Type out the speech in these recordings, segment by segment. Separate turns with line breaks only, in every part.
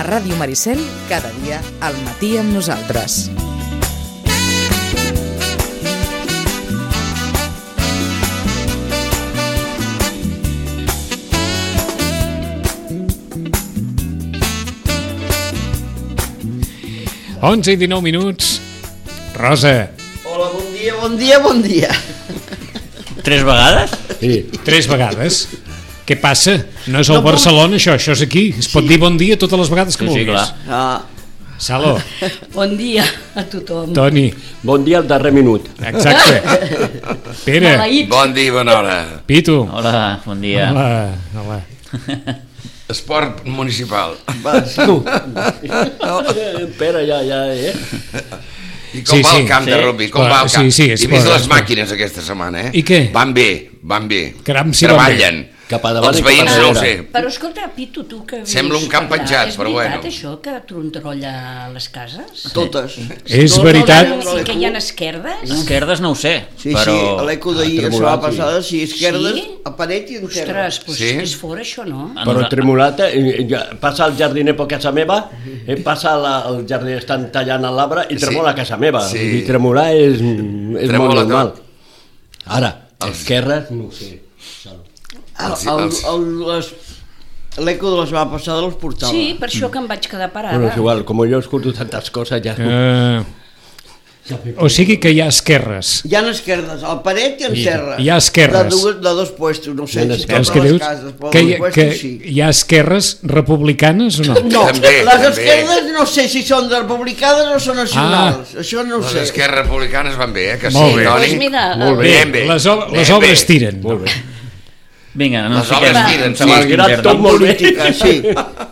A Ràdio Maricel, cada dia, al matí amb nosaltres.
Exacte. 11 i 19 minuts. Rosa,
Hola, bon dia, bon dia, bon dia.
Tres vegades?
sí. tres vegades. Què passa? No és el no Barcelona, això, això és aquí. Es pot sí. dir bon dia totes les vegades que
Sí, sí,
vulguis.
clar.
Ah,
Saló,
Bon dia a tothom.
Toni,
Bon dia al darrer minut.
exacte. Pere,
Maleït.
Bon dia i bona hora.
Pitu.
Hola, bon dia.
Hola, hola.
Esport municipal.
vas.
Eh, Pere, ja, ja, eh?
I com
Sí,
sí,
sí.
va el camp sí. de
Sí.
rugby? Com
Esport,
va el camp?
sí, sí,
He
esport,
vist les
esport.
màquines aquesta setmana, eh?
I què?
Van bé, van bé.
Caram, si van bé.
Treballen.
Cap a davant
Els
i cap a
veïns no ho sé.
darrere.
Però escolta, Pitu, tu que vius
Sembla un camp
per allà,
penjat, però
És veritat
bueno.
això que trontrolla les cases?
Totes.
És
No,
veritat.
no, I que hi ha esquerdes?
Esquerdes no ho sé,
Sí,
però...
sí, a l'eco d'ahir, la setmana
tremolant, sí.
passada, sí, esquerdes,
Sí?
a paret i en terra.
Ostres, doncs
Sí?
és fort això, no?
a
Però
nosa-
tremolata, eh, ja, passa al jardiner per casa meva, eh, passa la, el jardiner, estan tallant l'arbre i
Sí.
tremola a casa meva.
Sí.
I tremolar és, és
Tremola
molt
tot.
normal. Ara, els esquerres, no ho sé.
El-
Els-
el-
els-
el- les- L'eco de la setmana passada els portava.
Sí, per això que em vaig quedar
Bueno,
parada.
és igual, com jo escolto tantes coses, ja...
Uh, o sigui que hi ha esquerres.
Hi ha esquerdes, al paret i en
Hi-
terra.
hi ha esquerdes.
De, dues, de dos puestos, no sé
Hi ha
si totes
esquerdes.
Veus que
les
dius
cases, però
que,
que,
hi,
dos
que
puestos sí.
hi ha esquerres republicanes o no?
No,
També,
les
també.
esquerdes no sé si són republicanes o són nacionals. Això no ho
Les
sé.
esquerres republicanes van bé, eh? Que
Molt
sí,
bé.
Toni?
Doncs mira,
Molt bé. Anem bé.
Les, o- les
Anem
obres
bé.
tiren. Molt bé.
Vinga, no
Les
ens fiquem.
obres tiren,
ens
sí.
fiquem
Malgrat
en
tot
terra.
molt bé.
Política, sí.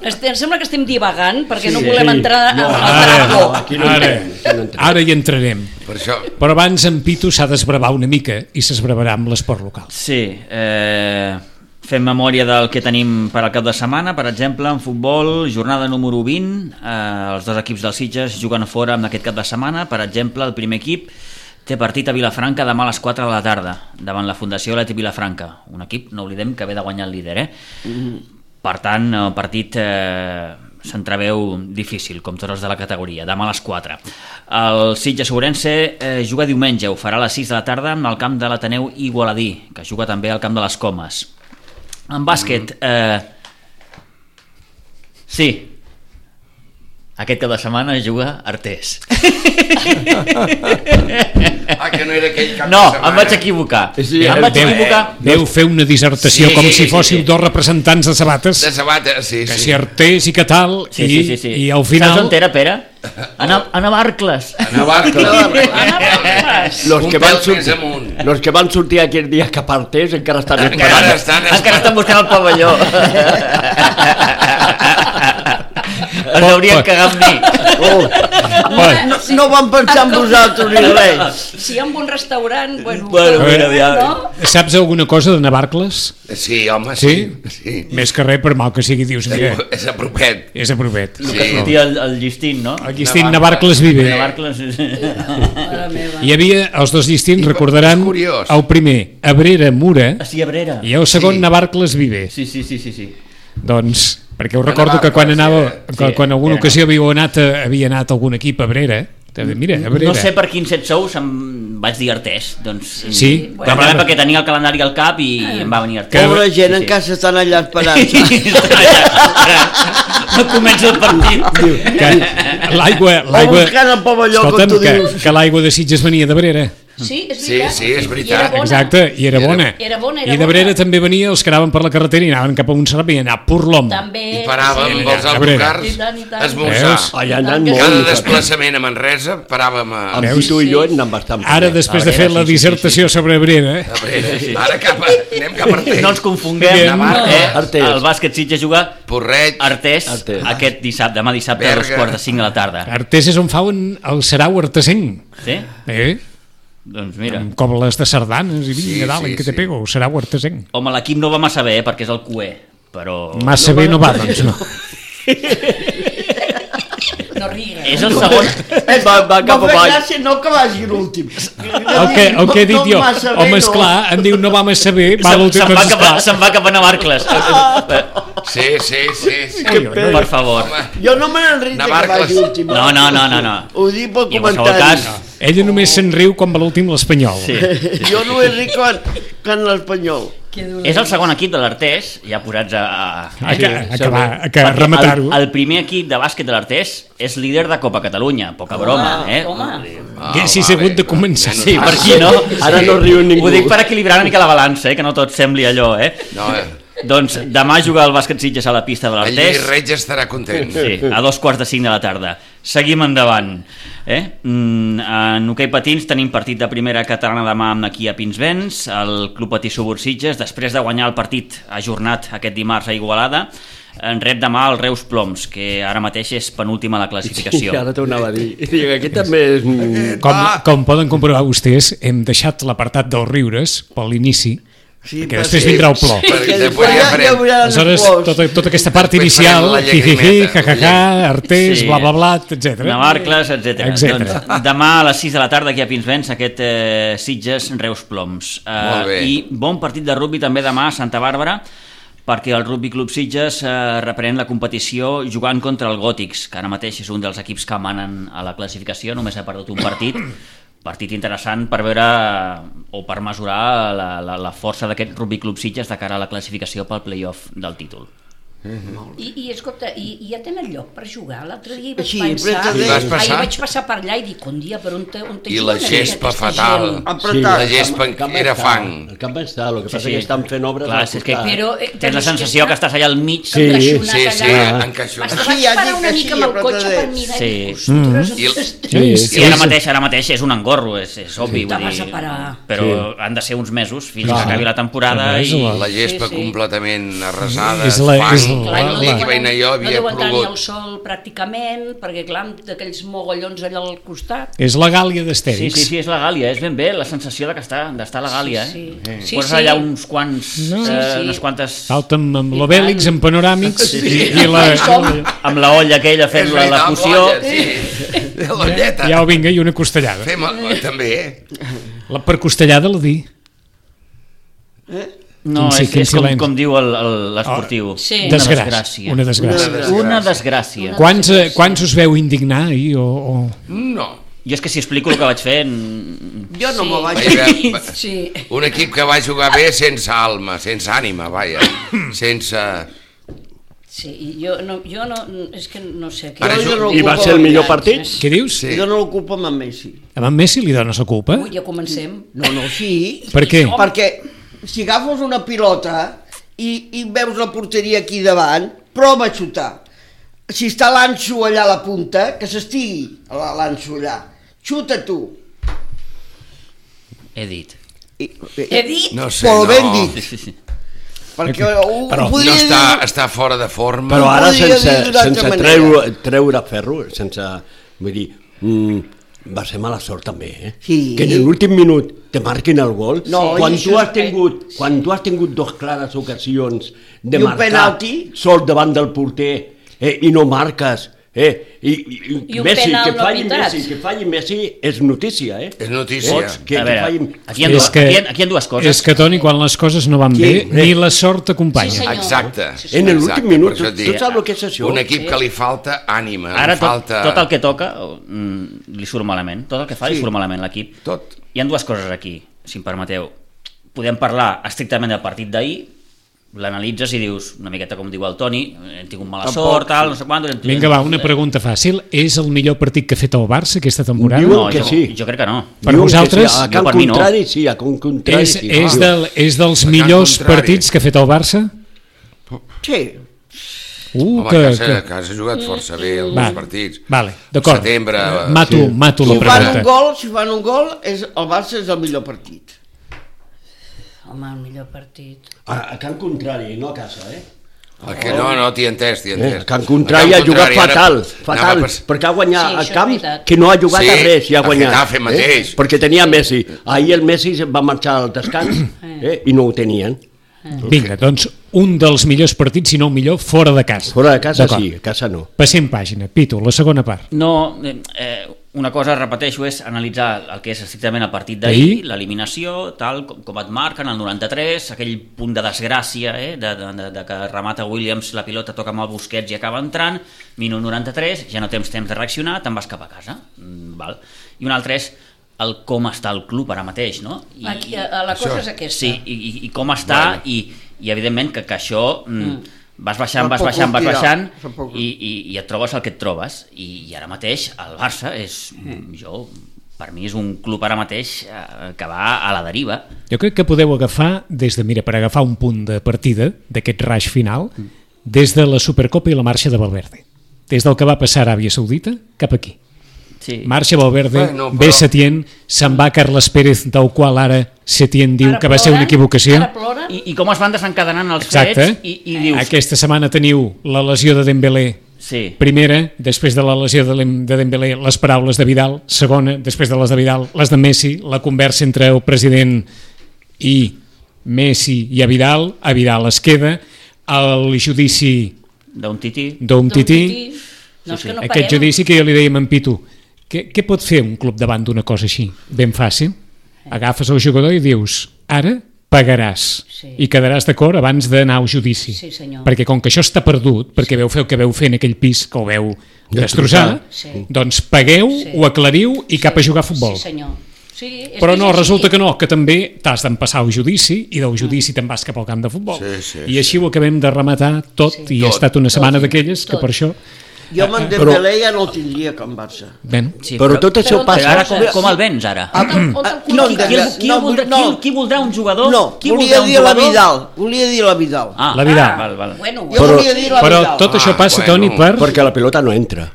Este, em sembla que estem divagant perquè no
Sí.
volem
Sí.
entrar
No,
al al
Ara,
drap.
no, aquí no
ara,
entrem, aquí no entrem.
ara hi entrarem.
Per això,
Però abans en Pitu s'ha d'esbravar una mica i s'esbravarà amb l'esport local.
Sí, eh, fem memòria del que tenim per al cap de setmana, per exemple, en futbol, jornada número 20, eh, els dos equips del Sitges juguen a fora amb aquest cap de setmana, per exemple, el primer equip té partit a Vilafranca demà a les 4 de la tarda, davant la Fundació Leti Vilafranca, un equip, no oblidem, que ve de guanyar el líder, eh? Per tant, el partit eh, s'entreveu difícil, com tots els de la categoria, demà a les 4. El Sitges Sobrense eh, juga diumenge, ho farà a les 6 de la tarda en el camp de l'Ateneu Igualadí, que juga també al camp de les Comes. En bàsquet... Eh, sí, aquest cap de setmana juga Artés.
ah, que no era aquell cap
No,
de setmana.
em vaig equivocar.
Sí,
em vaig
Déu,
equivocar.
Déu fer una dissertació
Sí,
com
sí,
si
sí,
fóssiu
sí.
dos representants de sabates,
De sabata, sí,
que
sí.
si artés i que tal,
Sí,
i,
sí, sí, sí.
i al
Saps
final...
on era, Pere? Anava, anava a Arcles.
Anava,
Anava a Arcles.
Los
Un
que,
pèl
van
més
sortir,
amunt.
los que van sortir aquell dia cap al test encara estan
Encara
esperant.
estan...
Encara estan buscant el pavelló. Es haurien cagat amb mi.
Oh,
Bueno,
No, no van pensar
Ah,
en vosaltres ni res.
Si hi ha un bon restaurant, bueno...
Bueno,
mira,
ja.
No?
Saps alguna cosa de Navarcles?
Sí, home, sí.
Sí?
Sí.
Més que res, per mal que sigui, dius, mira,
És apropet.
és apropet.
Sí.
Que sortia el, el llistín, no?
El llistín Navarcles vive.
De Barcles.
Mare meva.
Hi havia els dos llistins,
I-
recordaran,
és curiós.
el primer, Abrera Mura,
Sí, Abrera.
i el segon,
Sí.
Navarcles Viver.
Sí, sí, sí, sí, sí.
Doncs, perquè us recordo que
Navarcles,
quan anava,
sí,
que,
sí,
quan alguna
era.
ocasió havia anat, a- havia anat algun equip a eh? Abrera, també, mira, a Abrera.
No sé per quin set sous em vaig dir Artés, doncs...
Sí, Ah.
Bueno,
bueno.
perquè tenia el calendari al cap i em va venir Artés.
Pobra gent,
Sí, sí.
encara s'estan allà esperant.
no comença el partit.
que l'aigua... l'aigua-
buscant el pavelló, com
Escolta'm,
tu
que,
dius.
que l'aigua de Sitges venia d'Abrera.
Sí, és
Sí,
veritat.
sí, és
I era
veritat.
bona.
Exacte, i era
Era-
bona.
era bona, era
I d'Abrera
bona.
també venia els que anaven per la carretera i anaven cap a Montserrat i anar a Purlom.
També...
I
Eh.
paràvem
sí.
amb els
a veure.
I tant, i
autocars
tant.
a esmorzar.
Veus?
Allà anant
Cada
molt.
Cada
Miquel.
desplaçament a Manresa paràvem a...
Amb
Veus?
Tito i jo hem anat bastant.
Ara,
bé.
després de
Abrera,
fer
sí,
la
sí, sí,
dissertació sobre eh? Abrera,
a Brera. Ara cap a... anem cap a Artell.
No els confonguem.
No.
Eh?
Artés.
El bàsquet Sitges juga
Porret,
Artés,
Artés.
aquest dissabte, demà dissabte a les
Berga.
quarts de cinc de la tarda.
Artés és on fa un, el Sarau Artesenc.
Sí?
Eh?
Doncs mira.
Amb cobles de sardanes i vinga,
Sí,
sí, dalt,
sí,
sí, que te
sí.
pego, Sarau Artesenc.
Home, l'equip no va massa bé, eh, perquè és el QE, però...
Massa bé no va, doncs no.
No Garriga.
És el segon...
Va, va cap
M'ha fet
avall.
gràcia no que vagi l'últim.
El que, el que he dit jo,
massa bé,
home, esclar, em diu no vam saber, va
Se'n
l'últim
se'n va,
doncs
cap a,
esclar.
se'n va cap a Navarcles. Eh,
Sí, sí, sí. sí.
Per favor.
Home,
Jo no me n'enric de que
Navarcles.
vagi l'últim.
No, no, no, no, no.
Ho dic pel
I en qualsevol
comentari.
cas...
Ella només se'n riu quan va l'últim l'Espanyol.
Sí.
Jo no he ric quan, quan l'Espanyol.
És el segon equip de l'Artés, ja posats a... a,
A, que, a, que, va, a que
Perquè
rematar-ho.
El, el primer equip de bàsquet de l'Artés és líder de Copa Catalunya, poca broma, eh?
home.
Haguessis
Ah, va,
hagut
bé,
de començar.
no,
Sí,
no,
per aquí, no?
Ara no riu ningú.
Ho dic per equilibrar una mica la balança, eh? que no tot sembli allò, eh?
No, eh,
Doncs demà juga el bàsquet Sitges a la pista de
el Lluís
l'Artés.
Reig estarà content.
Sí, a dos quarts de cinc de la tarda. Seguim endavant. Eh? Mm, en hoquei patins tenim partit de primera catalana demà amb aquí a Pinsbens, el Club Patí Subur Sitges, després de guanyar el partit ajornat aquest dimarts a Igualada, en rep demà el Reus Ploms, que ara mateix és penúltima a la classificació.
Ara t'ho anava a dir. Dic, aquest també és... un-
Com,
Ah!
com poden comprovar vostès, hem deixat l'apartat dels riures per l'inici,
Sí,
que
per
després
si-
vindrà el plor.
Sí. Perquè
Que
després ja farem.
hauran els
Aleshores,
plors.
tota, tota aquesta part
Després farem
inicial,
la
jijiji,
llagrimeta.
cacacà, artés,
Sí.
bla, bla, bla, etc.
Navarcles, etc.
Etcètera.
Doncs, demà a les 6 de la tarda aquí a Pinsbens aquest eh, Sitges Reus Ploms. Eh,
Molt bé.
I bon partit de rugby també demà a Santa Bàrbara perquè el Rugby Club Sitges eh, reprèn la competició jugant contra el Gòtics, que ara mateix és un dels equips que manen a la classificació, només ha perdut un partit, partit interessant per veure eh, o per mesurar la, la, la força d'aquest Rugby Club Sitges de cara a la classificació pel playoff del títol.
I, I escolta, i, i ja tenen lloc per jugar? L'altre dia hi vaig
Sí,
pensar...
però
Hi vas
Ahir
passar?
vaig passar per allà i dic, un dia, per on, te, on te
I la gespa fatal.
Apretat.
La gespa
El camp
era
està-
fang.
El camp està, el que passa
sí.
sí. que estan fent obres...
Clar,
al
és que
costat.
Però, eh,
Tens la sensació que estàs allà al mig
Sí,
Sí, sí, Ah. encaixonat.
Vas
Sí, ja
parar
dic
una
que
mica
sí,
amb el cotxe per
apretadets.
mirar
Sí.
i dic, ostres,
I el-
ostres,
Sí,
Sí,
Sí,
sí,
ara
sí.
mateix, ara mateix és un engorro, és, és obvi.
Te
vull
vas
dir,
a parar.
Però
Sí.
han de ser uns mesos fins
Clar.
que acabi la temporada
Res,
i...
la-
La gespa
Sí, sí.
completament arrasada,
És la-
fang.
és
Clar,
la-
no,
L'equip
deuen,
veïnà i jo
no
havia
deu entrar ni el
plogut.
sol pràcticament, perquè clar, amb d'aquells mogollons allà al costat.
És la gàlia
Sí,
d'Astèrix.
sí, sí, és la Gàlia, és ben bé la sensació de que està, d'estar a la Gàlia.
Sí,
Eh?
sí. Sí,
Poses
sí.
allà uns quants...
No.
Eh,
Sí, sí.
Unes quantes...
Salta'm amb
I
l'Obèlix,
tant.
amb panoràmics,
Sí,
i,
sí.
i la,
Amb la olla aquella fent la, la fusió...
Sí, de l'olleta.
ja ho vinga, i una costellada.
Fem el, també, eh?
La, per costellada la di.
No,
Quin sí,
és,
quin
és com,
silenci.
com diu el- el- l'esportiu.
Oh, Sí.
Una
Desgràcia.
desgràcia.
Una desgràcia.
Una desgràcia.
Quants, eh, quants us veu indignar ahir? O, o...
No.
Jo és que si explico el que vaig fer... n-
Jo no me vaig...
Vaig veure- va-
Sí.
Un equip que va jugar bé sense alma, sense ànima, vaja. Sense...
Sí, i jo no, jo no, és que no sé què.
Ara
Jo
jo-
no
I va
ocupo
ser el millor
veritat.
partit?
Què dius?
Sí.
Jo no l'ocupo amb en Messi.
A en Messi li dones la culpa?
Ui, ja comencem.
No, no, sí.
Per què?
Perquè si agafes una pilota i, i veus la porteria aquí davant, prova a xutar. Si està l'anxo allà a la punta, que s'estigui la- l'anxo allà. Xuta tu.
He dit.
I,
He dit?
No sé,
Molt ben
no.
dit, perquè ho, ho
Però no
No
podria dir-
està, està fora de forma.
Però ara
podria
sense,
dir d'una altra
sense
manera.
treure, treure ferro, sense... Vull dir, mm, va ser mala sort també, eh?
Sí.
Que en l'últim minut te marquin el gol.
No,
quan,
i això
tu
és-
has tingut, quan tu has tingut dos clares ocasions
I
de
un
marcar
penalti.
sol davant del porter eh, i no marques, eh? I, i,
I un penal
que
no
falli
pitat.
Messi, que falli Messi és notícia, eh?
És notícia.
Pots
a
que, que
veure,
falli...
aquí hi ha, dues,
que,
aquí hi ha, aquí hi ha dues coses.
És que, Toni, quan les coses no van
Qui?
bé, ni la sort
Sí,
t'acompanya.
senyor.
Exacte.
Sí,
En l'últim
Exacte,
minut,
per
tu,
això et
tu
dic,
saps el que és això?
Un equip que li falta ànima,
Ara
li
tot,
falta...
tot el que toca mm, li surt malament, tot el que fa li surt malament l'equip.
Tot.
Hi han dues coses aquí, si em permeteu. Podem parlar estrictament del partit d'ahir, l'analitzes i dius, una miqueta com diu el Toni, hem tingut mala
Tampoc,
sort, tal, no sé quant... hem-
Vinga, va, una pregunta fàcil. És el millor partit que ha fet el Barça aquesta
Diuen
temporada?
No,
que
jo,
sí.
jo crec que no.
Per
Diuen que
vosaltres?
Sí, a
Jo
Can
per mi no.
Contrari, sí, a Can Contrari,
És,
sí.
és,
Ah.
del, és dels
Al
millors
contrari.
partits que ha fet el Barça?
Sí,
Uh,
Home,
que,
que, que,
que...
que has jugat força bé els
Va.
partits.
Vale, d'acord.
Setembre... eh,
Mato, mato la
si fan un
pregunta.
gol, si fan un gol, és, el Barça és el millor partit.
Home, el millor partit.
A, a Can Contrari, no a casa, eh?
El que no, no, t'hi he entès, t'hi he
eh
entès.
a Can Contrari ha jugat fatal, fatal, perquè ha
Sí,
guanyat sí,
això
a
és
camp
veritat.
que no ha jugat
Sí,
a res i ha
a
guanyat.
Getafe mateix.
Eh? Perquè tenia Messi. Ahir el Messi va marxar al descans eh? i no ho tenien.
Vinga, doncs un dels millors partits, si no el millor, fora de casa.
Fora de casa
D'acord.
sí, a casa no.
Passem pàgina. Pitu, la segona part.
No, eh, eh, una cosa, repeteixo, és analitzar el que és estrictament el partit d'ahir,
D'ahir?
l'eliminació, tal, com, com et marquen, el 93, aquell punt de desgràcia, eh, de, de, de, de que remata Williams, la pilota toca amb el Busquets i acaba entrant, minut 93, ja no tens temps de reaccionar, te'n vas cap a casa. Mm, val. I un altre és el com està el club ara mateix, no? I,
Aquí, a, a la
Això.
cosa és aquesta.
Sí, i, i- i com està,
Bueno.
i, i evidentment que, que això mm. vas baixant, vas
Tampoc
baixant, vas
ho dirà.
baixant,
Tampoc ho-
i, i, i et trobes el que et trobes. I, i ara mateix el Barça és, mm. jo, per mi és un club ara mateix eh, que va a la deriva.
Jo crec que podeu agafar, des de, mira, per agafar un punt de partida d'aquest raig final, des de la Supercopa i la marxa de Valverde. Des del que va passar a Aràbia Saudita cap aquí.
Sí.
Marxa Valverde,
Bueno,
bueno,
però-
ve Setién, se'n va Carles Pérez, del qual ara Setién diu
Ara
que va ser una
ploren,
equivocació.
Ara ploren,
I, I com es van desencadenant els
Exacte.
fets i, i dius...
Aquesta setmana teniu la lesió de Dembélé,
Sí.
primera, després de la lesió de Lem- de Dembélé, les paraules de Vidal, segona, després de les de Vidal, les de Messi, la conversa entre el president i Messi i a Vidal, a Vidal es queda, el judici
D'un tití.
d'un
Don
tití,
doncs No, és que no
aquest
parem.
judici que jo li dèiem a en Pitu, què, què pot fer un club davant d'una cosa així? Ben fàcil. Agafes el jugador i dius, ara pagaràs
Sí.
i quedaràs d'acord abans d'anar al judici.
Sí, senyor.
Perquè com que això està perdut, perquè veu fer el que veu fer en aquell pis que ho veu destrossar,
Sí.
doncs pagueu,
Sí.
ho aclariu i cap a jugar a futbol.
Sí, senyor. Sí, és
Però
que
no,
és així. Mm.
resulta que no, que també t'has d'empassar al judici i del judici te'n vas cap al camp de futbol.
Sí, sí,
I així ho acabem de rematar tot sí. i
Tot.
ha estat una setmana
Tot,
d'aquelles que
tot.
per això...
Jo amb en Dembélé ja no el tindria com Barça.
Bueno,
Sí,
Però tot això
però-
Però
passa...
ara com, com el vens, ara?
On te'l- on
Ah,
te'l
no,
col·loques?
Qui, el- qui, el voldrà, qui, el- qui voldrà un jugador?
No,
qui
volia
voldrà un
dir la
jugador?
Vidal, volia dir la Vidal.
Ah,
La Vidal.
Ah, val, val.
Bueno,
Jo
bueno.
volia dir la
Però
Vidal.
tot això
Ah,
passa,
bueno.
Toni, per...
Perquè la pilota no entra.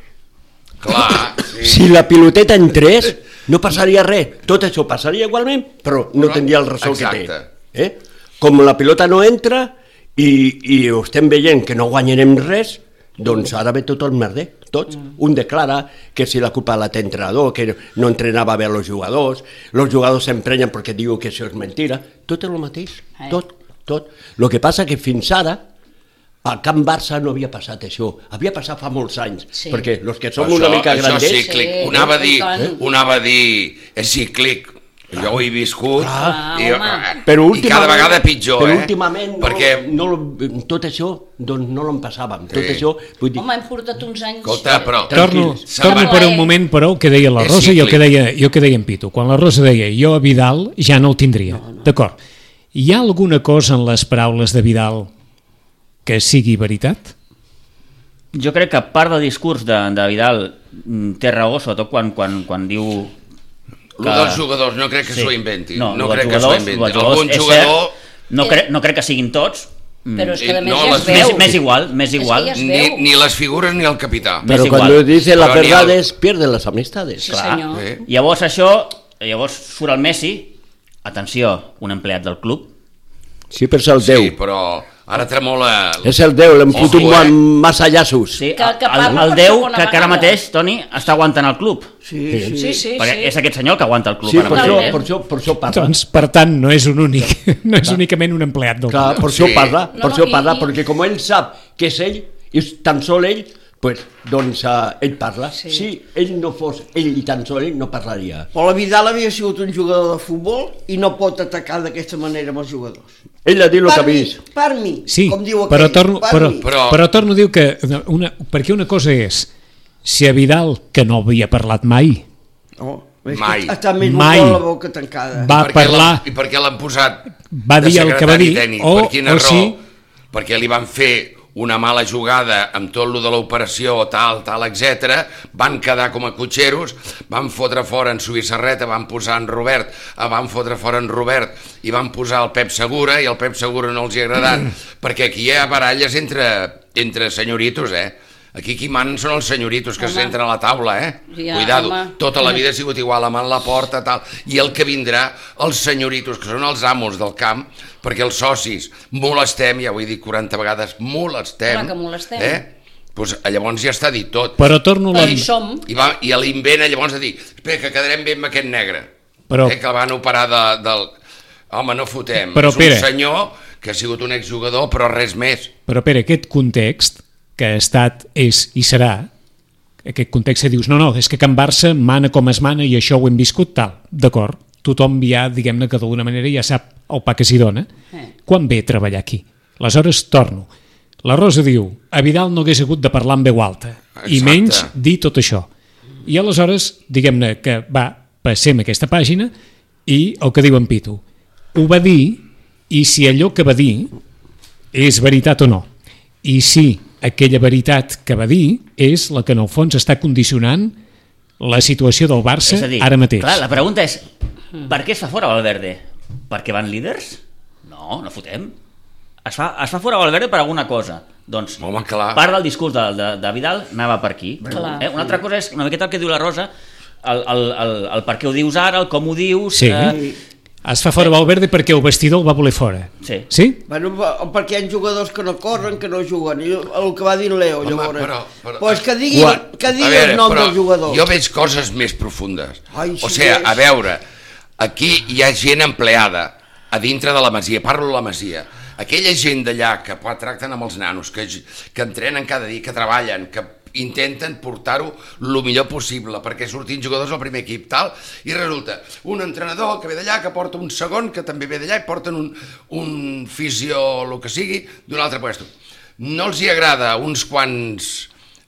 Clar, sí.
Si la piloteta entrés, no passaria res. Tot això passaria igualment, però no
Però-
tindria el ressò que té.
exacte.
Eh? Com la pilota no entra i, i ho estem veient que no guanyarem res, doncs ara ve tot el merder, tots.
Mm.
Un declara que si la culpa la té entrenador, que no entrenava bé els jugadors, els jugadors s'emprenyen perquè diuen que això és mentira, tot és el mateix,
Eh.
tot, tot. El que passa que fins ara al Camp Barça no havia passat això, havia passat fa molts anys,
Sí.
perquè els que som una mica grandets...
Això és cíclic.
Sí,
Sí, ho anava a dir,
i tant.
ho anava a dir, és cíclic. Jo ho he viscut
Ah,
i,
home.
Però
i cada vegada pitjor,
però
eh?
últimament
Perquè,
no, no, tot això doncs no l'empassàvem. Tot
Sí.
això, vull dir,
Home, hem portat uns anys...
escolta, però...
Torno,
Tranquils.
torno
Se'n va.
per un moment, però, el que deia la
És
Rosa i el que
cíclic.
deia, i el que deia en Pitu. Quan la Rosa deia, jo a Vidal ja no el tindria. D'acord. Hi ha alguna cosa en les paraules de Vidal que sigui veritat?
Jo crec que part del discurs de, de Vidal mm, té raó, sobretot quan, quan, quan diu...
Lo dels jugadors no crec que s'ho inventin. No,
lo dels
crec que s'ho
jugadors- lo dels
inventin.
jugadors,
Algun
és
jugador...
Cert, no, crec, no crec que siguin tots. Mm.
Però és que a
No,
més ja
les-
es
més,
veu.
més igual, més
que
igual.
ja es
Ni,
veu.
ni les figures ni el capità.
Bé,
Pero
igual.
cuando dice la
Però ni
verdad
el-
es pierden las amistades.
Sí,
Clar.
senyor.
Sí.
Llavors això, llavors surt el Messi, atenció, un empleat del club,
Siempre es el
Sí,
Déu.
però ara tremola...
És el Déu, l'hem fotut
Ojo, eh?
amb massa llaços.
sí,
Que- que
el,
parla
el
per
Déu
segona
que, que ara
vegada.
mateix, Toni, està aguantant el club.
Sí, sí.
Sí, sí,
perquè
sí.
és aquest senyor que aguanta el club.
Sí,
ara
per això,
mateix. eh?
per això, per això parla.
Doncs, per tant, no és un únic, no és únicament un empleat del
Clar, per això
Sí.
parla,
No,
per
no,
això
i-
parla,
i-
perquè com ell sap que és ell, i tan sol ell, pues, doncs eh, ell parla.
Sí.
Si ell no fos ell i tan sol ell, no parlaria.
Però la Vidal havia sigut un jugador de futbol i no pot atacar d'aquesta manera amb els jugadors.
Ell ha dit el que
per
ha
mi,
vist.
per mi,
Sí,
com diu aquell,
però torno,
per
però,
mi.
Però-
però... però torno a dir que una, perquè una cosa és si a Vidal, que no havia parlat mai,
No, és que
Mai.
Està més
Mai.
Mai. la boca tancada.
va
Per què
parlar...
l'han- Eh, I per què l'han posat
Va dir el que va dir,
Tècnic,
o-
per quina
o
raó?
sí.
Perquè li van fer una mala jugada amb tot lo de l'operació, tal, tal, etc. Van quedar com a cotxeros, van fotre fora en Suïssarreta, van posar en Robert, eh, van fotre fora en Robert i van posar el Pep Segura, i el Pep Segura no els hi ha agradat, perquè aquí hi ha baralles entre, entre senyoritos, eh? Aquí qui manen són els senyoritos que
Home.
s'entren a la taula, eh?
Ja,
Cuidado,
home.
tota la vida ha sigut igual, amant la porta, tal, i el que vindrà, els senyoritos, que són els amos del camp, perquè els socis molestem, ja ho he dit 40 vegades, molestem.
Clar que molestem.
Eh? Pues, llavors ja està dit tot.
Però torno a
Però
la...
hi som.
I, va, i a l'invent eh, llavors de dir, espera, que quedarem bé amb aquest negre.
Però-
Eh, que el van operar de, del... Home, no fotem.
Però,
és un
Pere-
senyor que ha sigut un exjugador, però res més.
Però, Pere, aquest context que ha estat, és i serà, aquest context que dius, no, no, és que Can Barça mana com es mana i això ho hem viscut tal, d'acord? Tothom ja, diguem-ne que d'alguna manera ja sap el pa que s'hi dona.
Eh.
Quan ve a treballar aquí? Aleshores torno. La Rosa diu, a Vidal no hagués hagut de parlar amb veu alta, i
Exacte.
menys dir tot això. I aleshores, diguem-ne que va, passem aquesta pàgina i el que diu en Pitu. Ho va dir i si allò que va dir és veritat o no. I si aquella veritat que va dir és la que en el fons està condicionant la situació del Barça
És a dir,
ara mateix.
Clar, la pregunta és, per què es fa fora Valverde? Perquè van líders? No, no fotem. Es fa, es fa fora Valverde per alguna cosa. Doncs
Home, clar.
part del discurs de, de, de Vidal anava per aquí.
Clar.
Eh? Una altra cosa és una miqueta el que diu la Rosa, el, el, el, el per què ho dius ara, el com ho dius... eh,
Sí. Es fa fora Valverde perquè el vestidor el va voler fora.
Sí.
Sí?
Bueno, va- perquè hi ha jugadors que no corren, que no juguen, i el que va dir en Leo,
Home,
llavors.
però- però-
pues que digui,
Guau.
que digui
A veure,
el nom
però
del jugador.
Jo veig coses més profundes.
Ai,
o
sí,
sigui,
és.
a veure, aquí hi ha gent empleada a dintre de la masia, parlo de la masia. Aquella gent d'allà que pa- tracten amb els nanos, que, j- que entrenen cada dia, que treballen, que intenten portar-ho el millor possible perquè surtin jugadors al primer equip tal i resulta un entrenador que ve d'allà que porta un segon que també ve d'allà i porten un, un fisio el que sigui d'un altre puesto no els hi agrada a uns quants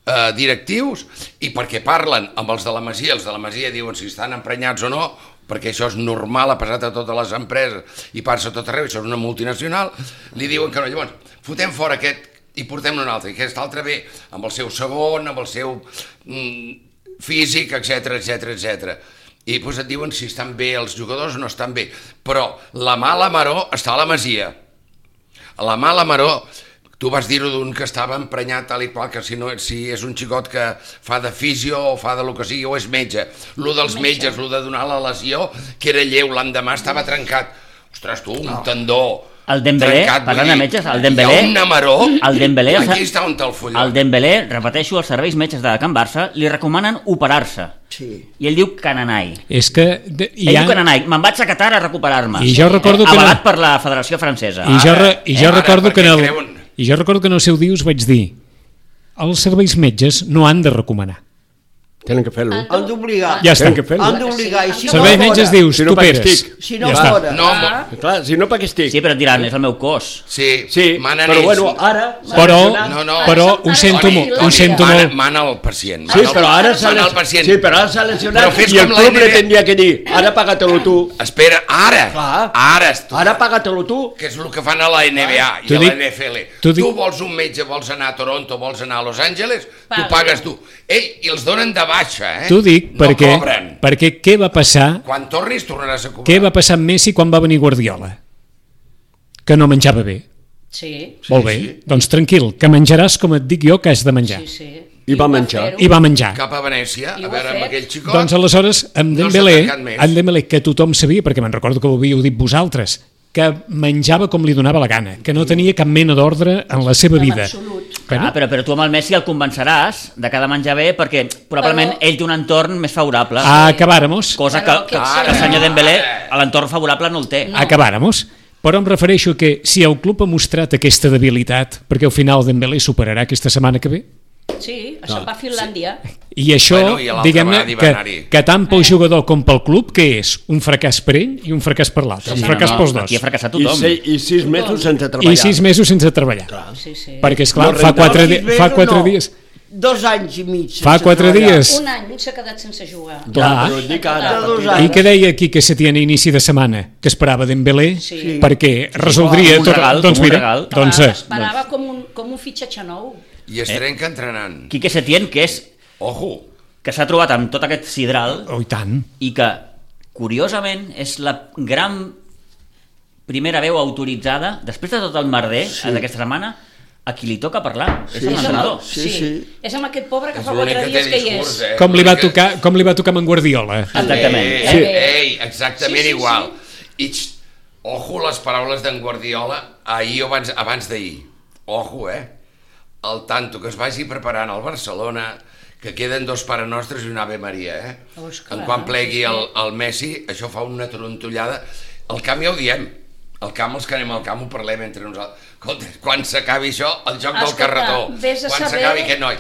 eh, directius i perquè parlen amb els de la Masia, els de la Masia diuen si estan emprenyats o no, perquè això és normal, ha passat a totes les empreses i passa a tot arreu, això és una multinacional, li diuen que no. Llavors, fotem fora aquest i portem-ne un altre, i aquest altre ve amb el seu segon, amb el seu mm, físic, etc etc etc. I doncs et diuen si estan bé els jugadors o no estan bé. Però la mala maró està a la Masia. A La mala maró, tu vas dir-ho d'un que estava emprenyat tal i qual, que si, no, si és un xicot que fa de fisio o fa de lo que sigui o és metge. Lo dels metges, lo de donar la lesió, que era lleu, l'endemà estava trencat. Ostres, tu, un tendó
El Dembélé,
trencat, vull
parlant de
dir,
metges, el
Hi
Dembélé...
ha una maró,
El Dembélé...
aquí està on té el fulló.
El Dembélé, repeteixo, els serveis metges de Can Barça li recomanen operar-se.
Sí.
I ell diu cananai.
És que de- hi
Ell
ha...
diu que n'anai, me'n vaig a Qatar a recuperar-me. Eh,
I jo recordo que no.
Avalat per la Federació Francesa.
I jo,
Ara,
re, i jo
ara,
recordo que en el,
perquè creuen.
i jo recordo que en el seu dia us vaig dir els serveis metges no han de recomanar.
Tenen que fer-lo.
Ah,
Han d'obligar.
Ja està.
Tenen que fer-lo.
Han d'obligar, i Ah, si no
Serveis
fora-
metges dius,
Si no
tu
pagues
peres.
tic.
Si no
ja està.
fora.
Ah.
No, home,
Clar, si no, perquè estic.
Sí, però et diran, és el meu cos.
sí,
Sí,
manen
però
ells.
bueno, ara... s'ha
Però,
d'anar-
No, no.
ah, però
Ara
ho
se'n
sento,
parla
molt,
i
ho
la
sento
mana,
molt.
mana el pacient.
Sí,
mana el-
però ara s'ha
mana el
les-
pacient.
sí, però ara s'ha lesionat
Però fes
i el
com la
club li
NBA.
tindria que dir, ara paga-te-lo tu.
Espera, ara,
Clar.
ara, estu-
Ara paga-te-lo tu.
que és el que fan a la NBA i
Tu
a
dic-
la NFL.
tu
Tu,
dic-
tu vols un metge, vols anar a Toronto, vols anar a Los Angeles,
Paga.
tu pagues tu. Ei, i els donen de baixa, eh?
T'ho dic
no
perquè,
cobren.
perquè què va passar
Quan tornis tornaràs a cobrar.
què va passar amb Messi quan va venir Guardiola? Que no menjava bé.
Sí,
Molt bé. Doncs tranquil, que menjaràs com et dic jo que has de menjar.
sí, sí.
I va menjar.
fer-ho.
I va menjar.
Cap a Venècia,
I
a
ho ha
veure, amb
fet.
aquell xicot...
Doncs aleshores, amb
No s'ha
Dembélé,
tancat més.
amb Dembélé, que tothom sabia, perquè me'n recordo que ho havíeu dit vosaltres, que menjava com li donava la gana, que no tenia cap mena d'ordre en la seva vida.
absolut.
Ah,
Bueno,
però, però tu amb el Messi el convenceràs de que ha de menjar bé perquè probablement
Però-
ell té un entorn més favorable.
Ah. acabáramos,
Cosa que,
Però
que,
aquest
que el senyor
senyor-
Dembélé a l'entorn favorable no el té.
acabáramos. Però em refereixo que si el club ha mostrat aquesta debilitat, perquè al final Dembélé superarà aquesta setmana que ve,
Sí, se'n va a Finlàndia.
i això,
Bueno, i l'altra
diguem-ne,
vegada hi va
que,
anar-hi.
que tant pel jugador com pel club, que és un fracàs per ell i un fracàs per l'altre, un fracàs pels dos.
Aquí ha fracassat
I,
tothom.
se, I sis mesos sense treballar.
I sis mesos sense treballar.
Sí, sí.
Perquè, esclar,
No
fa
rentava
quatre,
Sis
di
mesos
fa quatre
no.
dies...
Dos anys i mig. sense
Fa quatre
treballar.
dies.
Un any s'ha quedat sense jugar.
Clar,
Clar.
però et dic ara.
De dos
I
anys.
què deia aquí que se tiene inici de setmana? Que esperava Dembélé
Sí.
perquè resoldria
Com un
tot.
regal,
doncs
com un
mira,
regal.
Clar,
doncs, eh,
esperava com un, com un fitxatge nou.
I es trenca entrenant.
Quique Setién, que és
Ojo!
que s'ha trobat amb tot aquest sidral
oh, i tant.
i que, curiosament, és la gran primera veu autoritzada, després de tot el merder sí. d'aquesta setmana, a qui li toca parlar. Sí. És
És
un
amb-
entrenador.
Sí, sí.
És amb aquest pobre que
És
fa
l'únic
quatre
que té
dies que hi és.
discurs, eh?
Com li, va
L'únic que-
tocar, com li va tocar amb en Guardiola?
Exactament.
Ei,
Sí.
sí. ei, exactament
Sí, sí,
sí, sí, igual. I, xt, ojo les paraules d'en Guardiola ahir o abans, abans d'ahir. Ojo, eh? El tanto que es vagi preparant al Barcelona, que queden dos pare nostres i una Ave Maria, eh?
Oh, és clar,
en quan
sí,
plegui
sí.
el, el Messi, això fa una trontollada. El camp ja ho diem. Al camp, els que anem al camp, ho parlem entre nosaltres. Escolta, quan s'acabi això, el joc del
Ah, Escolta,
carretó.
vés a
Quan
saber-
s'acabi aquest noi.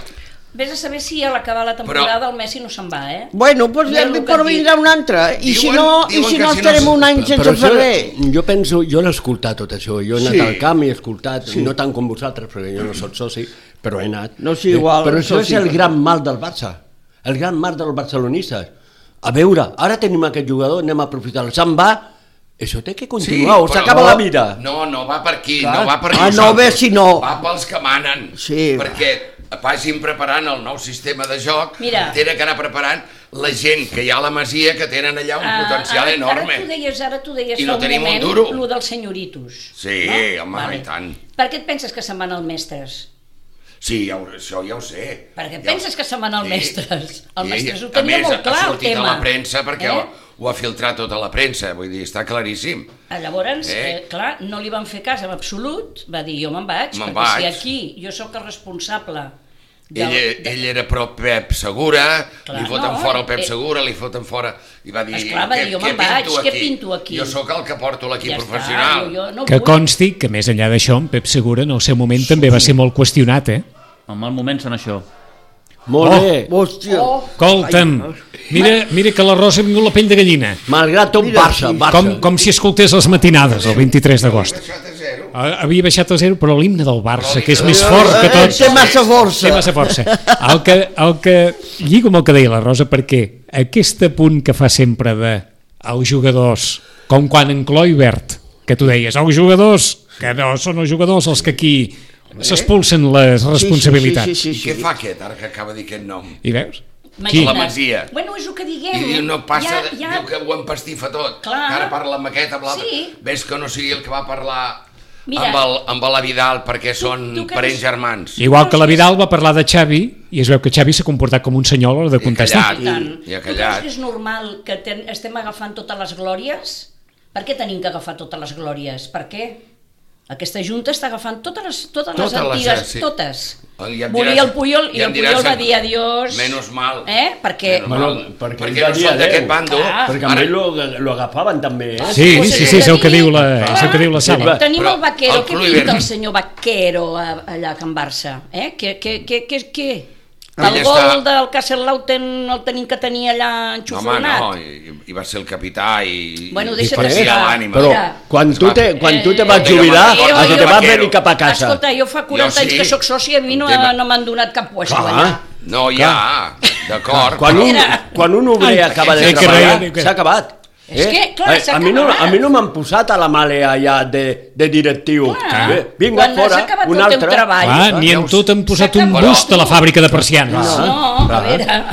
Vés a saber si a l'acabar la temporada
Però-
el Messi no se'n va, eh?
Bueno, doncs
Mira
ja
el que
però
et dic.
vindrà un altre. I
Diuen-
si no, i
diuen
si
que
no
si no
estarem
se-
un any
Però
sense
això,
Ferrer.
jo penso, jo l'he escoltat tot això, jo he anat
Sí.
sí. al camp i he escoltat, sí. no tant com vosaltres, perquè jo no soc soci, però he anat.
No, sí,
Eh,
igual,
Però això
soci,
és el
però-
gran mal del Barça, el gran mal dels barcelonistes. A veure, ara tenim aquest jugador, anem a aprofitar-lo. Se'n va, això té que continuar, o
però
s'acaba
no-
la vida.
No, no va per aquí,
Clar.
no va per
Ah,
nosaltres.
no, bé, si no.
Va pels que manen.
Sí.
Perquè vagin preparant el nou sistema de joc,
Mira.
tenen que anar preparant la gent que hi ha a la Masia, que tenen allà un
Ah,
potencial
ara,
enorme.
Ara tu deies, ara tu deies
I no
fa
tenim un
moment
duro.
lo dels senyoritos.
Sí, home, i tant.
Per què et penses que se'n van als mestres?
Sí, ja ho, això ja ho sé.
Perquè penses que se'n van als mestres. Els mestres ho
a
tenia
més,
molt clar,
ha
el
sortit
tema.
a la premsa perquè
Eh?
eh? ho ha filtrat tota la premsa, vull dir, està claríssim.
Ah, Llavors,
Eh?
eh? Eh, clar, no li van fer cas en absolut, va dir jo me'n vaig,
Me'n
perquè si
vaig.
aquí jo sóc el responsable del,
Ell, ell era pro Pep Segura,
Clar,
Clar, li foten
no,
no, fora el
eh,
Pep
eh.
Segura, li foten fora... I va dir,
Esclar, va dir, jo me'n vaig, què pinto aquí?
Jo sóc el que porto l'equip
Ja està,
professional.
jo- jo no
Que
vull.
consti que més enllà d'això, en Pep Segura en el seu moment també va ser molt qüestionat, eh?
En mal moment són això.
Molt
Oh.
bé.
Hòstia.
Oh.
Escolta'm, mira, mira que la Rosa ha vingut la pell de gallina.
Malgrat tot,
Mira,
Barça,
sí.
Barça.
Com, com si escoltés les matinades el 23 d'agost.
Això té zero.
Ah, Havia baixat a zero, però l'himne del Barça, que és més
Eh,
fort que
Eh,
tot.
Té massa
Té
força.
massa força. El que, el que lligo amb el que deia la Rosa, perquè aquest punt que fa sempre de els jugadors, com quan en Cloibert, que tu deies, els jugadors, que no són els jugadors els que aquí s'expulsen les responsabilitats.
Sí, sí,
I
sí, sí,
què
sí.
fa aquest, ara que acaba de dir aquest nom?
I veus?
Imagina't.
A la Masia.
Bueno, és el que diguem.
I diu, no passa, ja,
Eh, ja,
diu que ho empastifa tot.
Clar.
Que Ara parla amb aquest, amb l'altre.
Sí.
Ves que no sigui el que va parlar
Mira.
amb, el, amb la Vidal, perquè són
tu que
parents
eres-
germans.
Igual que la Vidal va parlar de Xavi i es veu que Xavi s'ha comportat com un senyor a l'hora de
I
contestar.
callat.
I tant.
I ha
Tu creus
callat.
que és normal que ten, estem agafant totes les glòries? Per què tenim que agafar totes les glòries? Per què? Aquesta Junta està agafant totes les, totes les
Totes les,
antigues,
eh, sí.
totes.
I em
Volia
diràs-
el Puyol i
i em
el
diràs
Puyol va
en-
dir adiós.
Menos mal.
Eh? Perquè...
Menos
Bueno,
mal,
perquè
perquè
ell
no
va dir
són d'aquest
adeu.
bando.
Clar.
Perquè amb ell lo, lo agafaven també, eh?
Sí,
Pues
sí,
és
sí, és el
tenim-
que diu la,
Clar.
és el que diu la sala.
Tenim
Però
el Vaquero,
el
què
Kluivert-
pinta el senyor Vaquero a, allà a Can Barça? Eh? Què, què, què, què, què?
Ell
El gol
està-
del Castlelauten el tenim que tenir allà
Home,
enxufonat?
no, i, i va ser el capità i...
Bueno,
i
deixa
per
que
dir
siga.
a l'ànima.
Però
Mira.
quan tu te, quan tu te vas
Eh,
jubilar,
jo-
el que
jo-
te vas
jo-
venir cap a casa.
Escolta, jo fa 40
Jo
anys
sí.
que sóc soci i a mi no,
Tema.
no m'han donat cap puesto
Clar.
allà.
No, ja, d'acord.
Quan un,
Mira.
quan un
Ai,
obrer acaba de
sí, que
treballar,
reia, que-
s'ha acabat. Eh?
És que, clar,
Ai,
s'ha
a, mi no,
acabat.
a mi no m'han posat a la màlea ja de, de directiu.
Clar.
Eh, Vinga,
Ah, Quan
fora,
has acabat
un
el teu
altre. Ah.
treball.
Clar, ni en tot han posat un bust a la fàbrica de persianes.
No, a
clar.
veure,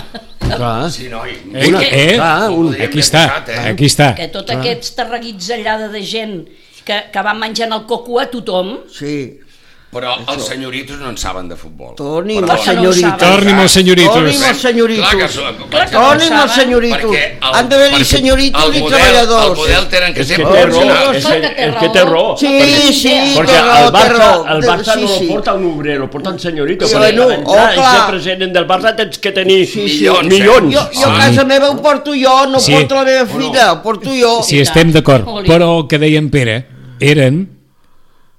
Clar.
Sí, noi.
Eh,
Una-
eh,
clar, un-
Podríem
aquí
haver
està,
posat, eh?
aquí està.
que
Ah.
tota aquesta reguitzellada de gent que, que va menjant el coco a tothom,
Sí.
Però els senyoritos no en saben de futbol.
Toni,
Perdona.
el senyorito.
Torni,
Torni'm els senyoritos.
Torni'm els senyoritos.
Clar que són.
Clar que
Toni,
no
el
saben.
senyorito.
Perquè el-
Han d'haver-hi
perquè
senyoritos
el
i
model-
treballadors.
El model tenen que
És
ser
que té raó,
professionals.
és,
Sóc que té
és que té
raó.
raó.
Sí, sí,
Perquè
té raó,
el
té
Barça,
raó.
el Barça
Sí,
no
sí.
el porta un obrer, el porta un senyorito.
Sí,
Sí, perquè
bueno,
per entrar
oh,
i ser
clar.
president del Barça tens que tenir
Sí, sí.
Milions, eh?
milions.
Jo, jo a casa meva ho porto jo, no
Sí.
porto la meva filla, ho porto jo.
Si estem d'acord,
Oli.
però el que deia en Pere eren,